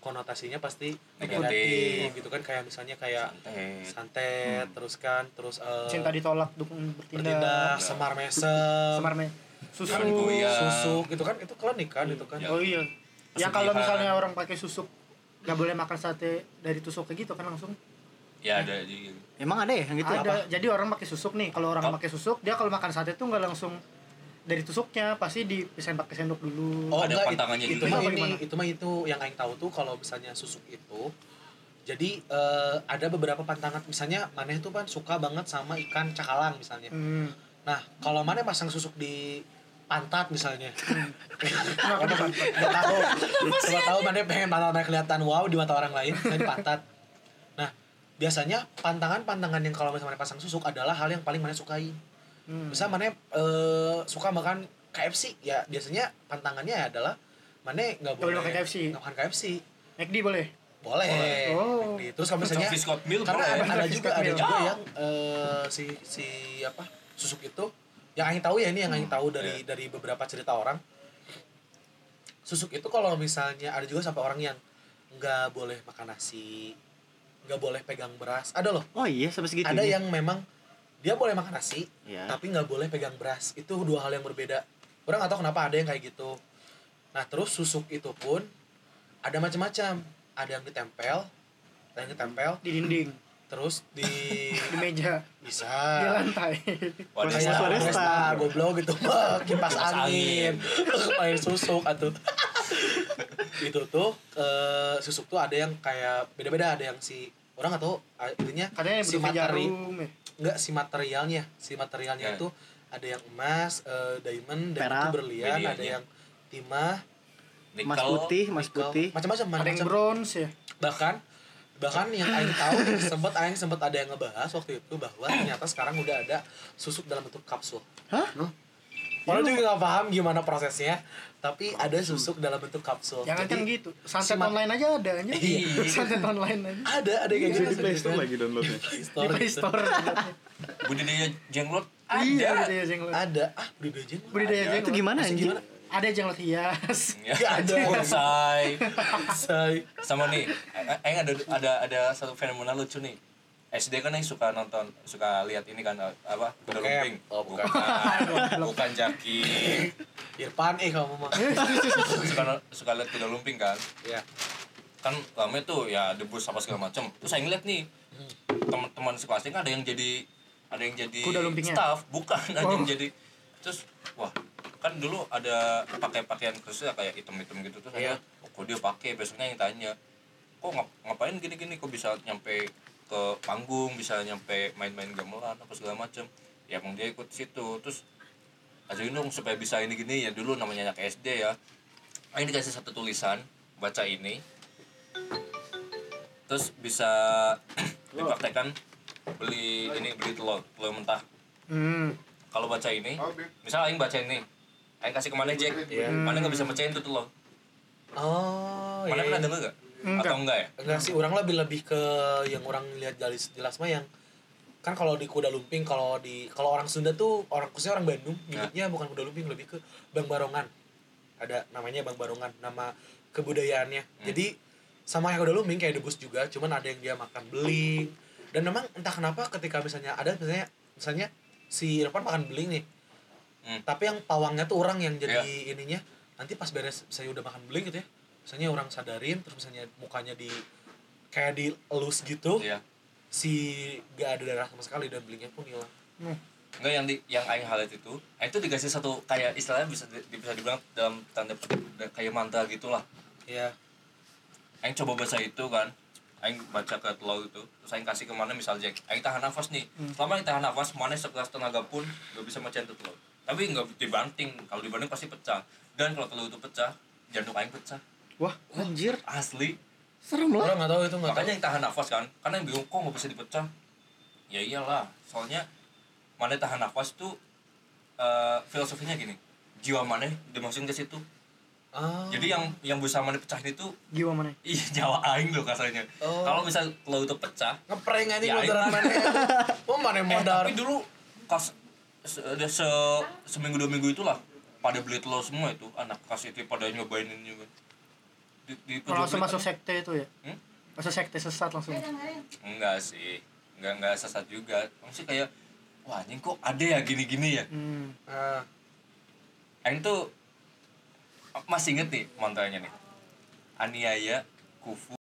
S2: konotasinya pasti
S3: Negatif.
S2: negatif gitu kan kayak misalnya kayak
S3: santet
S2: santet
S3: Hmm.
S2: terus kan terus eh,
S1: Cinta ditolak dukung
S2: bertindak
S1: bertindak.
S2: semar mesem
S1: Semar me- susu.
S3: Jangan goyah.
S2: susuk itu kan itu klinik kan itu kan
S3: Ya.
S1: Oh iya. Ya kalau
S3: Kesedihan.
S1: misalnya orang pakai susuk nggak boleh makan sate dari tusuk kayak gitu kan langsung.
S3: ya ada juga
S4: Emang ada ya yang gitu?
S1: ada. Jadi orang pakai susuk nih. Kalau orang
S3: Oh.
S1: pakai susuk, dia kalau makan sate tuh nggak langsung dari tusuknya, pasti dipisahin pakai sendok dulu.
S2: oh
S3: Ada
S2: enggak itu,
S3: pantangannya
S2: itu
S3: juga.
S2: mah
S1: Apa
S2: ini
S1: gimana?
S2: itu mah itu yang aing tahu tuh kalau misalnya susuk itu jadi eh, ada beberapa pantangan misalnya maneh tuh kan suka banget sama ikan cakalang misalnya
S1: Hmm.
S2: nah kalau maneh pasang susuk di pantat misalnya
S1: Nah, kan
S2: Coba tahu, coba tahu mana pengen pantat mana kelihatan wow di mata orang lain, saya di pantat. Nah, biasanya pantangan-pantangan yang kalau misalnya mana pasang susuk adalah hal yang paling mana sukai.
S1: Hmm.
S2: Misal mana eh, suka makan KFC, ya biasanya pantangannya adalah mana nggak
S1: Nggak boleh
S2: boleh
S1: makan KFC.
S2: nggak makan KFC.
S1: McD boleh.
S2: Boleh.
S1: Oh.
S2: Gitu. Terus kalau misalnya
S3: Sophie Scott Mill
S2: karena ada,
S3: boleh
S2: ada
S1: Fiscal
S2: juga ada
S1: bill.
S2: juga yang eh, si si apa susuk itu yang aing tahu ya ini yang aing tahu dari
S3: Iya.
S2: dari beberapa cerita orang susuk itu kalau misalnya ada juga sampai orang yang nggak boleh makan nasi nggak boleh pegang beras ada loh
S4: Oh iya, sampai segitu.
S2: ada yang memang dia boleh makan nasi
S4: ya.
S2: tapi nggak boleh pegang beras itu dua hal yang berbeda orang nggak tahu kenapa ada yang kayak gitu nah terus susuk itu pun ada macam-macam ada yang ditempel ada yang ditempel
S1: Di dinding,
S2: terus di
S1: di meja,
S2: bisa
S1: di lantai.
S3: wadah
S2: kayak
S4: Foresta.
S2: Foresta goblok gitu mah kipas
S3: Kipas
S2: angin main susuk atau itu tuh eh, susuk tuh ada yang kayak beda-beda ada yang si orang atau artinya
S1: Katanya
S2: si
S1: butuh
S2: materi
S1: jarum ya.
S2: enggak si materialnya si materialnya
S3: Ya.
S2: itu ada yang emas eh, diamond dan
S4: Perak.
S2: itu berlian ada
S3: Medianya.
S2: yang timah
S4: Mas
S3: nikel
S4: putih, mas
S2: nikel,
S4: putih.
S2: macam-macam
S1: Ada yang
S2: macam-macam
S1: bronze ya.
S2: bahkan bahkan yang Aing tahu sempat Aing sempat ada yang ngebahas waktu itu bahwa ternyata sekarang udah ada susuk dalam bentuk kapsul.
S4: Hah? Iya.
S2: Orang juga nggak paham gimana prosesnya, tapi ada susuk dalam bentuk kapsul.
S1: Jangan kan
S2: Oh, Jadi,
S1: gitu. Sunset
S2: si ma-
S1: online aja ada aja.
S2: Iya.
S1: Sunset online aja.
S2: ada ada yang kayak gitu
S4: Di Play Store Iya, lagi downloadnya.
S1: Di Play
S2: Store.
S1: Store.
S3: budidaya jenglot
S1: Iya,
S3: ada
S1: budidaya jenglot.
S2: Ada ah budidaya jenglot.
S1: Budidaya
S3: Ada.
S4: Itu
S1: jenglot.
S4: gimana
S2: Masih
S4: anjing?
S2: gimana?
S1: Ada jenglot hias.
S3: Ya,
S2: Nggak ada.
S3: bonsai
S2: Say.
S3: sama nih eh, eh, ada ada ada satu fenomena lucu nih SD kan yang suka nonton suka lihat ini kan eh, apa
S2: Bokep.
S3: kuda lumping
S2: Oh, bukan.
S3: bukan bukan jaki
S2: Irfan eh kamu mah.
S3: suka no- suka lihat kuda lumping kan
S1: Iya.
S2: Ya.
S3: kan rame tuh ya debus apa segala macam terus saya ngeliat nih teman-teman sekelasnya kan ada yang jadi ada yang jadi
S1: Kuda lumpingnya?
S3: staff bukan ada yang
S1: Oh.
S3: jadi terus wah kan dulu ada pakai pakaian khusus ya, kayak hitam-hitam gitu terus saya
S2: Iya.
S3: oh, kok dia pakai besoknya yang tanya kok ngap- ngapain gini-gini kok bisa nyampe ke panggung bisa nyampe main-main gamelan apa segala macem ya emang dia ikut situ terus ajarin dong supaya bisa ini gini ya dulu namanya anak SD ya Ah, ini dikasih satu tulisan baca ini terus bisa dipraktekkan beli ini beli telur telur mentah
S1: Hmm.
S3: kalau baca ini misal aing baca ini aing kasih ke mana Jack mana nggak bisa bacain tuh telur
S2: Iya. oh
S3: mana
S2: iya,
S3: pernah
S2: iya.
S3: denger nggak
S1: Enggak.
S3: atau enggak ya
S2: enggak sih orang lebih lebih ke yang orang lihat jelas jelas mah yang kan kalau di kuda lumping kalau di kalau orang Sunda tuh orang khususnya orang Bandung
S3: Nah.
S2: nyebutnya bukan kuda lumping lebih ke Bang Barongan ada namanya Bang Barongan nama kebudayaannya jadi sama yang kuda lumping kayak debus juga cuman ada yang dia makan beling dan memang entah kenapa ketika misalnya ada misalnya misalnya si Irfan makan beling nih
S3: Hmm. Iya.
S2: tapi yang pawangnya tuh orang yang jadi ininya nanti pas beres saya udah makan beling gitu ya misalnya orang sadarin terus misalnya mukanya di kayak di elus gitu
S3: iya
S2: si gak ada darah sama sekali dan belingnya pun hilang
S3: enggak yang di yang aing highlight itu aing tuh dikasih satu kayak istilahnya bisa di, bisa dibilang dalam tanda petik, kayak mantra gitulah
S2: ya
S3: Aing coba baca itu kan Aing baca ke telur itu Terus Aing kasih kemana misal Jack Aing tahan nafas nih Selama Aing tahan nafas Mana sekeras tenaga pun Gak bisa mecahin tuh telur Tapi nggak dibanting Kalau dibanting pasti pecah Dan kalau telur itu pecah Jantung Aing pecah
S4: Wah, anjir.
S3: Asli
S4: Serem lah.
S2: orang nggak tahu itu nggak tahu
S3: Makanya Aing tahan nafas kan Karena Aing bingung kok nggak bisa dipecah Ya iyalah Soalnya Mana tahan nafas tuh eh, Filosofinya gini Jiwa mana dimasukin ke situ
S2: ah
S3: Jadi yang yang bisa mana pecahin itu
S1: Jiwa mana?
S3: Ih Iya, Jawa Aing loh kasarnya
S2: Oh.
S3: Kalau misal telur itu pecah
S2: ngeprank aja
S3: Ya,
S2: modal
S3: iya.
S2: mana mau mana
S3: Eh,
S2: modal
S3: tapi dulu kas se, ada se, seminggu dua minggu itulah pada beli telur semua itu anak kasih itu pada nyobainin juga. Di, di
S1: Kalau langsung
S3: pojok
S1: masuk sekte itu ya?
S3: Hmm?
S1: Masuk sekte sesat langsung.
S3: beli- Enggak sih, enggak enggak sesat juga. Maksudnya kayak wah anjing kok ada ya gini-gini ya.
S1: Hmm.
S2: Ah,
S3: Aing tuh masih inget nih mantranya nih. Aniaya kufu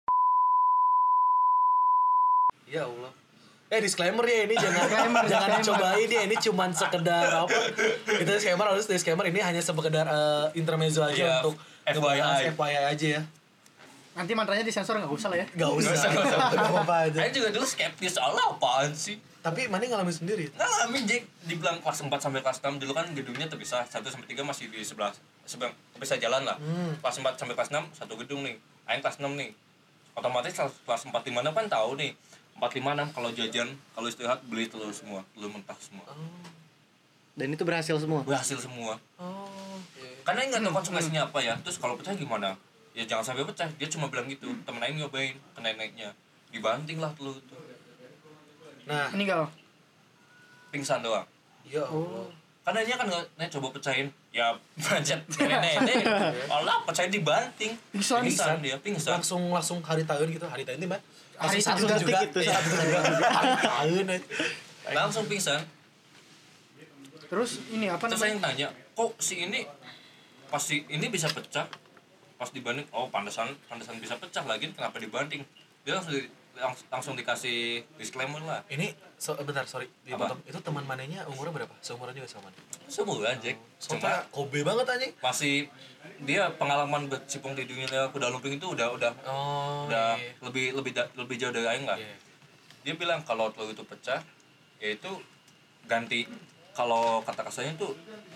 S2: ya Allah eh disclaimer ya ini jangan jangan dicobain ya ini cuman sekedar apa itu disclaimer harus disclaimer ini hanya sekedar eh, intermezzo aja
S3: Iya,
S2: untuk
S3: FYI.
S2: ngebahas FYI aja ya
S1: Nanti mantranya disensor nggak usah lah ya.
S2: Gak usah, gak usah, apa aja.
S3: Aing juga dulu skeptis Allah apaan sih
S2: Tapi mana ngalamin sendiri?
S3: ngalamin Nah, Jack dibilang kelas 4 sampai kelas 6 dulu kan gedungnya terpisah 1 sampai 3 masih di sebelah sebang terpisah jalan lah kelas 4 sampai kelas 6 satu gedung nih Aing kelas 6 nih otomatis kelas kelas 4 lima enam kan tahu nih 4 5 6 kalau jajan kalau istirahat beli telur semua telur mentah semua
S4: Dan itu berhasil semua.
S3: berhasil semua
S2: Oh, oke.
S3: karena Aing nggak tahu konsekuensinya apa ya terus kalau pecah gimana ya jangan sampai pecah dia cuma bilang gitu temen Aing nyobain kena naiknya dibanting lah telur itu
S2: Nah,
S1: Meninggal.
S3: pingsan doang
S2: ya Allah.
S3: karena dia kan nggak "Nek, coba pecahin ya macet nenek-nenek Allah pecahin dibanting
S1: Pingsan.
S3: pingsan dia pingsan
S2: Langsung langsung hari tahun gitu, hari tahun ini mah.
S1: Hari
S2: Langsung
S1: tahun
S2: juga.
S4: gitu,
S2: Iya,
S4: satu
S2: juga. Hari tahun. eh.
S3: langsung pingsan
S1: Terus ini apa
S3: terus saya
S1: namanya?
S3: yang tanya kok si ini pasti ini bisa pecah pas dibanding oh pantesan pantesan bisa pecah lagi kenapa dibanting dia langsung di- langs- langsung dikasih disclaimer lah
S2: Ini so, bentar sorry
S3: Apa?
S2: dipotong. Itu teman manenya umurnya berapa? Seumuran juga sama. nih.
S3: semua Jack
S2: Soalnya
S3: cuma
S2: Kobe banget anjing.
S3: masih dia pengalaman bercipung di dunia kuda lumping itu udah udah
S2: Oh.
S3: udah
S2: iya.
S3: lebih lebih da- lebih jauh dari aing lah
S2: Iya.
S3: dia bilang kalau telur itu pecah yaitu ganti kalau kata kasarnya itu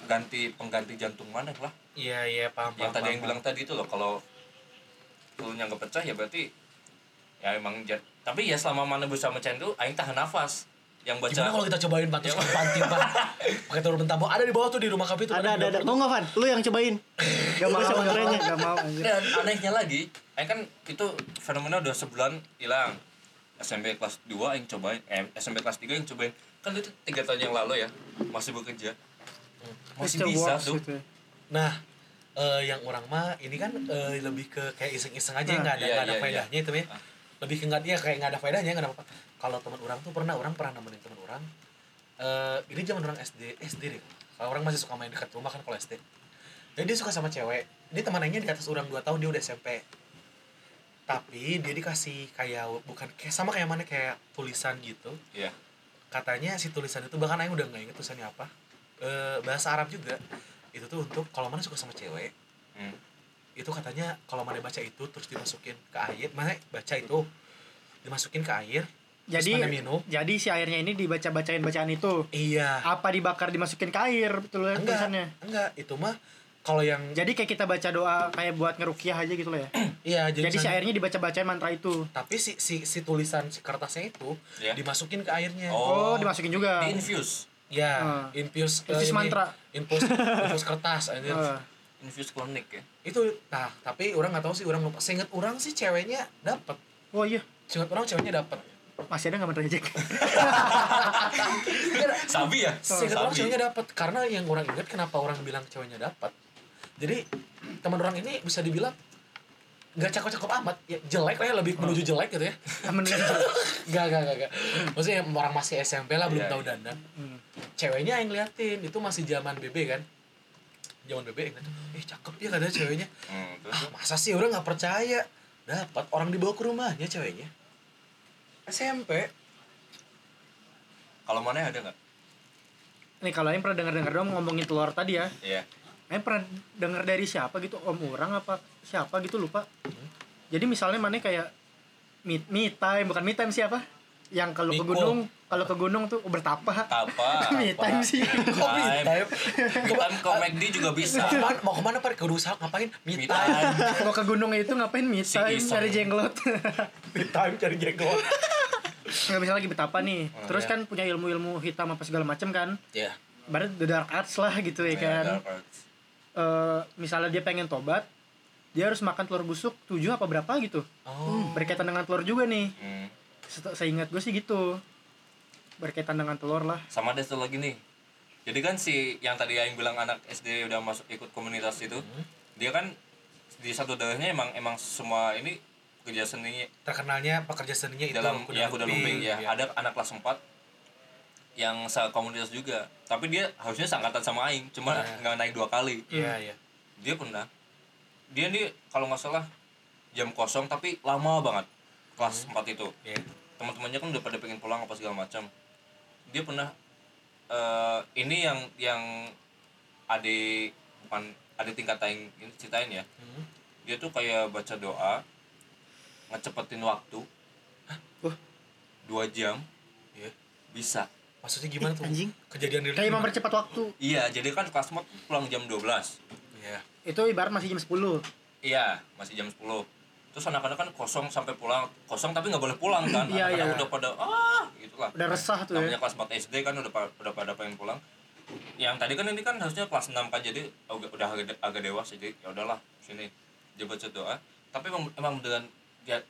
S3: ganti pengganti jantung mana lah
S2: Iya, iya, paham. paham,
S3: yang tadi
S2: paham,
S3: yang bilang tadi itu loh kalau telurnya nggak pecah ya berarti ya emang ja- tapi ya selama mana bisa mecahin itu aing tahan nafas yang
S2: paham. Gimana
S3: baca
S2: kalau kita cobain pantus ke panti, Pak? Pakai telur bentamo. Ada di bawah tuh di rumah kafe tuh.
S4: Ada ada ada. Mau nggak Van? Lu yang cobain.
S1: Gak mau, gak mau, gak mau. anjir.
S3: dan anehnya lagi aing kan itu fenomena udah sebulan hilang SMP kelas 2 yang cobain eh, SMP kelas 3 yang cobain kan itu tiga tahun yang lalu ya masih bekerja masih
S1: Mr.
S3: bisa
S1: Works
S3: tuh
S1: gitu ya.
S2: Nah, eh, yang orang mah ini kan eh, lebih ke kayak iseng-iseng aja nggak ada
S3: Iya,
S2: nggak ada
S3: iya, iya.
S2: faedahnya itu ya.
S3: Ah.
S2: Lebih ke nggak dia kayak nggak ada faedahnya nggak ada apa-apa. Kalau teman orang tuh pernah orang pernah nemenin teman orang. eh ini zaman orang SD SD deh. Kalau orang masih suka main dekat rumah kan kalau SD. Jadi dia suka sama cewek. Dia temannya di atas orang 2 tahun dia udah SMP. Tapi dia dikasih kayak bukan kayak sama kayak mana kayak tulisan gitu
S3: iya
S2: katanya si tulisan itu bahkan Aing udah nggak inget tulisannya apa Eh, bahasa Arab juga itu tuh untuk kalau mana suka sama cewek
S3: Hmm.
S2: itu katanya kalau mana baca itu terus dimasukin ke air mana baca itu dimasukin ke air
S1: Jadi
S2: mana minum?
S1: jadi si airnya ini dibaca-bacain bacaan itu.
S2: Iya.
S1: Apa dibakar dimasukin ke air betul ya,
S2: Enggak,
S1: tulisannya.
S2: enggak. Itu mah kalau yang
S1: Jadi kayak kita baca doa kayak buat ngerukiah aja gitu loh ya.
S2: iya
S1: jadi si
S2: misalnya-
S1: airnya dibaca-bacain mantra itu.
S2: tapi si si si tulisan si kertasnya itu
S3: Iya.
S2: dimasukin ke airnya.
S1: Oh,
S3: Oh,
S1: dimasukin juga.
S3: di infuse.
S2: Ya,
S1: Ah.
S2: infuse eh,
S1: Infuse
S2: ini,
S1: mantra.
S2: Infuse infuse kertas anjir.
S1: Eh,
S3: Infuse klinik ya.
S2: Itu nah, tapi orang nggak tahu sih, orang lupa. Seinget orang sih ceweknya dapat.
S1: oh iya,
S2: Seinget orang ceweknya dapat.
S1: masih ada nggak mantra Jack?
S3: Sabi ya?
S2: Seinget orang
S3: Sabi.
S2: ceweknya dapat karena yang orang ingat kenapa orang bilang ceweknya dapat. Jadi teman orang ini bisa dibilang nggak cakep-cakep amat, ya jelek lah ya, lebih menuju
S3: Oh.
S2: jelek gitu ya.
S3: Ah,
S1: Aman nggak sih?
S2: Gak, gak, gak, gak. Maksudnya orang masih SMP lah, belum
S3: Iya,
S2: tahu
S3: iya.
S2: dandan.
S1: Hmm.
S2: ceweknya yang ngeliatin itu masih zaman BB kan zaman BB yang ngeliatin, eh cakep ya katanya ceweknya
S3: Hmm, terus
S2: ah masa sih orang nggak percaya dapat orang dibawa ke rumahnya ceweknya SMP
S3: kalau mana ada nggak?
S1: Nih kalau yang pernah dengar-dengar dong ngomongin telur tadi ya.
S3: Iya.
S1: Em pernah dengar dari siapa gitu om orang apa siapa gitu lupa. Jadi misalnya mana kayak me, me time bukan me time siapa? Yang kalau ke
S2: Miko.
S1: gunung kalau ke gunung tuh oh, bertapa.
S3: Tapa.
S1: Me time sih.
S2: kok me time?
S3: Kita kan ke McD juga
S2: mau
S3: bisa.
S2: kemana, mau kemana pada ke rusak ngapain me
S3: Me
S2: time
S3: time.
S1: Mau ke gunung itu ngapain me
S3: Si
S1: time
S3: Isong.
S1: cari jenglot.
S2: me time cari jenggot
S1: Nggak misalnya lagi betapa nih.
S3: Oh,
S1: Terus
S3: iya.
S1: kan punya ilmu-ilmu hitam apa segala macem kan.
S3: Iya.
S1: Barat the dark arts lah gitu ya kan.
S3: Dark Arts.
S1: Eh, misalnya dia pengen tobat, dia harus makan telur busuk tujuh apa berapa gitu.
S2: oh
S1: Berkaitan dengan telur juga nih.
S3: Hmm.
S1: Set- Seingat gue sih gitu. Berkaitan dengan telur lah.
S3: sama ada satu lagi nih jadi kan si yang tadi yang bilang anak SD udah masuk ikut komunitas itu dia kan di satu daerahnya emang emang semua ini kerja seninya
S2: terkenalnya pekerja seninya itu
S3: di dalam ya kuda lumping ya
S2: Iya.
S3: ada anak kelas 4 yang komunitas juga tapi dia harusnya seangkatan sama Aing cuma
S2: Iya.
S3: nggak naik dua kali
S2: iya iya
S3: dia pernah dia nih kalau nggak salah jam kosong tapi lama banget kelas 4 itu
S2: Iya.
S3: teman-temannya kan udah pada pengen pulang apa segala macam dia pernah eh, ini yang yang adik bukan adik tingkat aing ini ceritain ya
S2: Hmm.
S3: dia tuh kayak baca doa ngecepetin waktu
S1: Wah.
S3: dua jam
S2: Iya.
S3: bisa
S2: maksudnya gimana tuh
S4: Anjing.
S2: kejadian dari
S1: Kayak mempercepat waktu.
S3: iya jadi kan kelas mod pulang jam 12
S2: iya
S1: Itu ibarat masih jam 10.
S3: iya masih jam 10 terus anak-anak kan kosong sampai pulang kosong tapi nggak boleh pulang kan
S1: Iya,
S3: anak-anak
S1: iya.
S3: udah pada ah gitulah
S1: Udah resah tuh
S3: namanya
S1: ya.
S3: kelas 4 SD kan udah pa- udah pada pengen pulang yang tadi kan ini kan harusnya kelas 6 kan jadi agak- udah agak, de- agak dewasa jadi ya udahlah sini dia baca doa tapi emang, emang dengan dia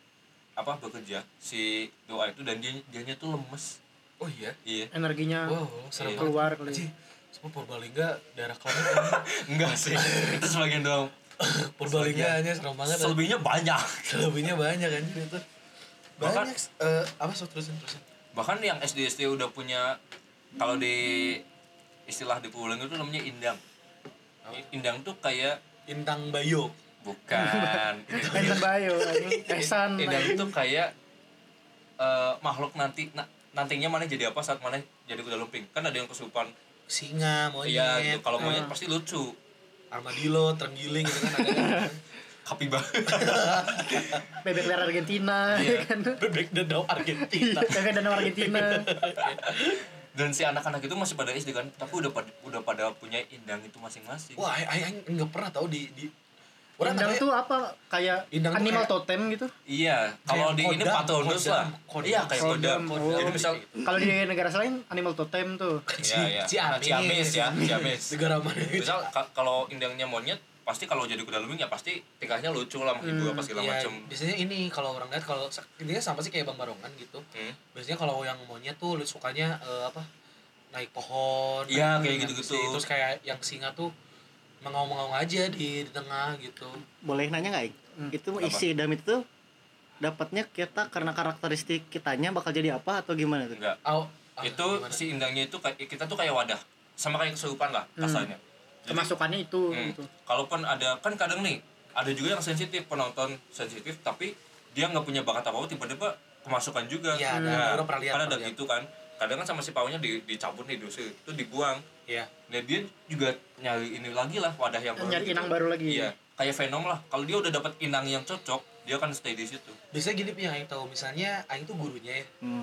S3: apa bekerja si doa itu dan dia dianya tuh lemes
S2: oh iya
S3: iya
S1: Energinya
S2: wow serem
S3: Iya.
S2: banget.
S1: keluar kali.
S2: Anjing, semua Purbalingga daerah kami
S3: enggak sih itu sebagian doang
S2: Purbalingga hanya serem banget.
S3: selebihnya banyak
S2: Selebihnya banyak kan itu.
S3: Bahkan-
S2: Banyak eh, apa so, terusin terusin.
S3: bahkan yang SD SD udah punya kalau di istilah di Pulang itu namanya indang indang tuh kayak
S2: Intang Bayo.
S3: bukan Itu
S1: Enten bayo. anjing. Esan.
S2: Iya.
S3: Indang
S1: anjing.
S3: itu kayak eh, makhluk nanti na- nantinya mana jadi apa saat mana jadi kuda lumping kan ada yang kesurupan
S2: Singa, monyet,
S3: iya gitu kalau monyet
S1: Ah.
S3: pasti lucu
S2: armadillo, terenggiling gitu kan ada kan.
S3: kapibara
S1: Bebek liar Argentina.
S2: Iya.
S1: ya kan.
S2: Bebek dedau Argentina.
S1: Bebek danau Argentina.
S3: dan si anak-anak itu masih pada SD kan tapi udah pada, udah pada punya indang itu masing-masing
S2: Wah, ay ay nggak pernah tahu di di Orang
S1: Indang
S2: katanya-
S1: tuh apa? Kayak
S2: Indang tuh
S1: animal
S2: kayak-
S1: totem gitu.
S3: iya kalau
S2: Kayak
S3: di ini
S2: kodam,
S3: patronus
S2: kodam,
S3: lah
S2: kodam. gitu.
S3: iya kayak kodam,
S1: Kodam, oh.
S3: jadi misal
S1: Kalau di
S2: Hmm.
S1: negara lain animal totem tuh.
S3: iya iya Nah, ciamis ya ciamis
S2: Negara mana gitu. itu?
S3: misal ka- kalau indangnya monyet pasti kalau jadi kuda lumping ya pasti tingkahnya lucu lah menghibur apa segala
S2: Iya,
S3: macam
S2: biasanya ini kalau orang lihat kalau intinya sama sih kayak Bang Barongan gitu.
S3: Hmm.
S2: biasanya kalau yang monyet tuh lu sukanya eh, apa naik pohon naik-
S3: Iya, kayak
S2: naik
S3: gitu-gitu.
S2: besi. terus kayak yang singa tuh mengaung-ngaung aja di, di tengah gitu
S4: Boleh nanya nggak? Ik?
S1: Hmm.
S4: Itu
S3: Apa?
S4: isi idam itu dapatnya kita karena karakteristik kitanya bakal jadi apa atau gimana tuh?
S3: enggak
S2: Au, ah,
S3: itu
S2: gimana?
S3: si indangnya itu kayak kita tuh kayak wadah sama kayak kesurupan lah
S2: Hmm.
S3: kasarnya
S2: gitu.
S1: Kemasukannya itu
S3: Hmm.
S1: gitu.
S3: kalaupun ada kan kadang nih ada juga yang sensitif penonton sensitif tapi dia nggak punya bakat apa apa tiba-tiba kemasukan juga
S2: Iya, ada.
S3: Nah,
S2: Orang pernah lihat,
S3: kan
S2: pernah
S3: ada
S2: lihat.
S3: gitu kan kadang kan sama si paunya di, dicabut nih dosa itu dibuang
S2: Iya.
S3: nah dia juga nyari ini lagi lah wadah yang baru
S1: Nyari
S3: gitu.
S1: inang baru lagi.
S3: iya kayak venom lah kalau dia udah dapat inang yang cocok dia akan stay di situ
S2: biasanya gini punya yang tahu misalnya aing tuh gurunya ya
S4: Hmm.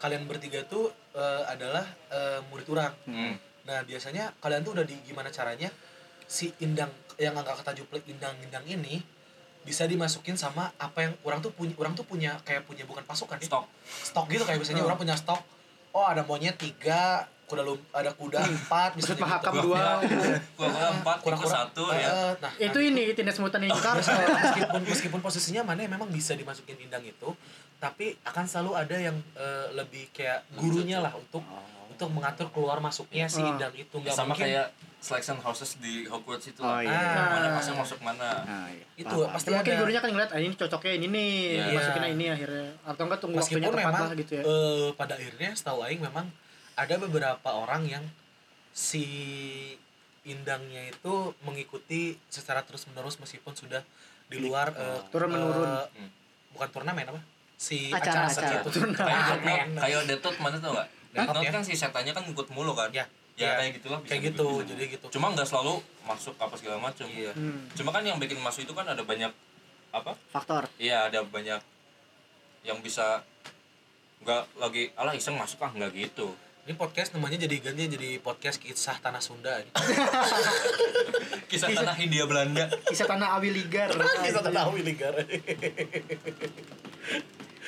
S2: kalian bertiga tuh eh, adalah eh, murid orang
S3: Hmm.
S2: nah biasanya kalian tuh udah di gimana caranya si indang yang angka kata juple indang-indang ini bisa dimasukin sama apa yang orang tuh punya orang tuh punya kayak punya bukan pasukan ya
S3: Stok.
S2: stok gitu kayak biasanya
S1: Hmm.
S2: orang punya stok oh ada monyet tiga kuda lum ada kuda empat
S1: Maksud
S2: misalnya
S1: mahakam
S2: gitu.
S1: dua.
S3: Kurang-kurang empat,
S2: Kurang-
S3: kurang
S2: kurang-
S3: satu
S2: Eh,
S3: ya.
S2: eh, nah
S1: Itu ini tindas mutan yang
S2: Nah,
S1: ingkar.
S2: meskipun- meskipun meskipun posisinya mana memang bisa dimasukin indang itu tapi akan selalu ada yang eh, lebih kayak gurunya lah untuk untuk mengatur keluar masuknya si
S1: Ah.
S2: indang itu
S3: Ya,
S2: nggak
S3: Oh. sama
S2: mungkin
S3: kayak selection houses di Hogwarts itu
S4: Oh
S3: lah.
S4: iya.
S2: Ah.
S3: Mana pasang masuk mana.
S4: Nah, iya.
S2: itu
S4: Paham,
S2: pasti
S1: Ya, mungkin
S2: ada.
S1: gurunya kan ngeliat, ah ini cocoknya ini nih,
S3: Iya.
S1: masukin aja ini akhirnya. Atau enggak tunggu waktunya
S2: meskipun
S1: tepat
S2: memang
S1: lah gitu ya.
S2: eh, pada akhirnya setahu aing memang ada beberapa orang yang si indangnya itu mengikuti secara terus menerus meskipun sudah di luar eh,
S1: Turun menurun.
S2: eh,
S3: Oh. Hmm.
S2: bukan turnamen apa si
S4: Acara,
S2: acara, saja
S1: Iya.
S4: acara.
S2: itu
S3: Gitu. Nah,
S2: Ah,
S3: Kayak Death Note,
S2: turnamen.
S3: kayak Death Note mana tau gak? Death
S2: Hah?
S3: Note
S2: Ya.
S3: kan si setannya kan ngikut mulu kan.
S2: Ya. Ya.
S3: Ya, kayak gitulah bisa
S2: kayak gitu
S3: dibilang.
S2: jadi gitu
S3: Cuma nggak selalu masuk apa segala macam.
S2: Iya.
S1: Hmm.
S3: Cuma kan yang bikin masuk itu kan ada banyak apa?
S4: Faktor.
S3: Iya ada banyak yang bisa nggak lagi alah iseng masuk ah nggak gitu.
S2: ini podcast namanya jadi ganti jadi podcast kisah tanah Sunda ini.
S3: Kisah tanah Hindia Belanda.
S1: Kisah tanah Awi Ligar.
S2: kisah tanah Wiligar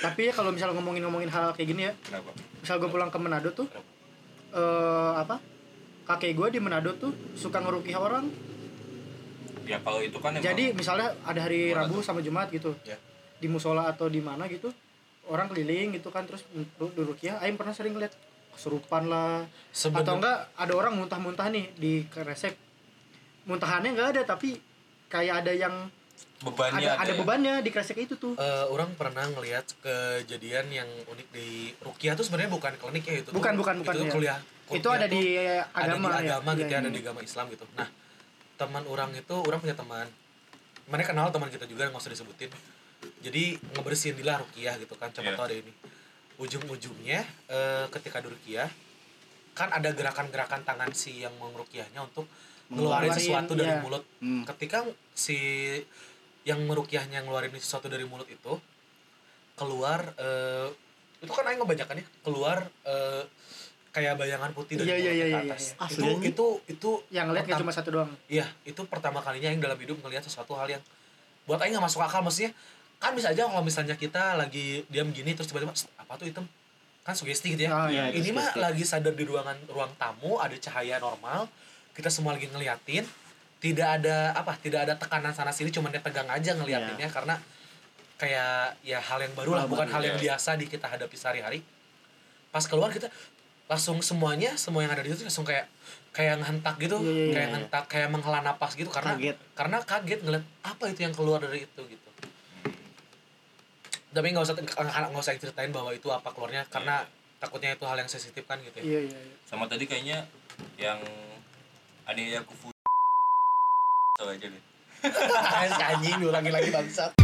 S1: Tapi ya kalau misalnya ngomongin-ngomongin hal kayak gini ya,
S3: Kenapa?
S1: misal gue pulang ke Manado tuh eh apa kakek gue di Manado tuh suka ngerukih orang
S3: Ya kalau itu kan emang
S1: jadi misalnya ada hari
S3: Gimana
S1: Rabu sama Jumat gitu
S2: Ya.
S1: di musola atau di mana gitu orang keliling gitu kan terus dirukiah Aing pernah sering ngeliat kesurupan lah
S2: Sebelum-
S1: atau enggak ada orang muntah-muntah nih di resep muntahannya enggak ada tapi kayak ada yang
S3: bebannya
S1: ada, ada
S3: ya.
S1: bebannya di kresek itu tuh
S2: Eh, orang pernah ngelihat kejadian yang unik di Rukia tuh sebenarnya bukan klinik ya itu tuh-
S1: Bukan, bukan, bukan,
S2: itu tuh
S1: ya.
S2: kuliah
S1: itu ada
S2: tuh
S1: di agama,
S2: ada di agama
S1: ya.
S2: gitu ya,
S1: Iya,
S2: ada
S1: iya.
S2: di agama Islam gitu nah teman orang itu orang punya teman mana kenal teman kita juga nggak usah disebutin jadi ngebersihin di lah Rukiah gitu kan coba
S3: Iya.
S2: tau ada ini ujung-ujungnya eh, ketika di Rukiah kan ada gerakan-gerakan tangan si yang merukiahnya untuk ngeluarin
S1: Ngeluarin,
S2: sesuatu dari
S1: iya.
S2: mulut
S4: Hmm.
S2: ketika si yang merukiahnya ngeluarin sesuatu dari mulut itu keluar eh, itu kan aing ngebacakan ya keluar eh, kayak bayangan putih
S1: Iya,
S2: dari mulut
S1: iya,
S2: ke
S1: iya, iya,
S2: atas
S4: iya.
S2: itu,
S4: Asli.
S2: itu itu
S1: yang ngeliat kayak cuma
S2: Pertama-
S1: satu doang
S2: iya itu pertama kalinya yang dalam hidup ngelihat sesuatu hal yang buat aing nggak masuk akal maksudnya kan bisa aja kalau misalnya kita lagi diam gini terus tiba-tiba "Sst, apa tuh hitam kan sugesti gitu ya
S1: Ah, iya.
S4: Iya,
S2: ini mah
S4: pasti.
S2: lagi sadar di ruangan ruang tamu ada cahaya normal kita semua lagi ngeliatin tidak ada apa tidak ada tekanan sana sini cuman dia tegang aja
S1: Iya.
S2: ngeliatinnya karena kayak ya hal yang baru lah
S4: Hal
S2: bukan
S4: baru,
S2: hal yang
S1: iya.
S3: ya.
S2: biasa di kita hadapi sehari-hari pas keluar kita langsung semuanya semua yang ada di situ langsung kayak kayak ngehentak gitu
S1: Iya, iya, Nah, iya,
S2: kayak
S4: iya.
S2: ngehentak kayak menghela napas gitu karena
S4: Kaget.
S2: karena kaget ngeliat apa itu yang keluar dari itu gitu tapi nggak usah nggak usah ceritain bahwa itu apa keluarnya karena takutnya itu hal yang sensitif kan gitu ya
S1: iya iya iya.
S3: sama tadi kayaknya yang ada yang kufu tau aja deh
S2: anjing diulangi lagi bangsat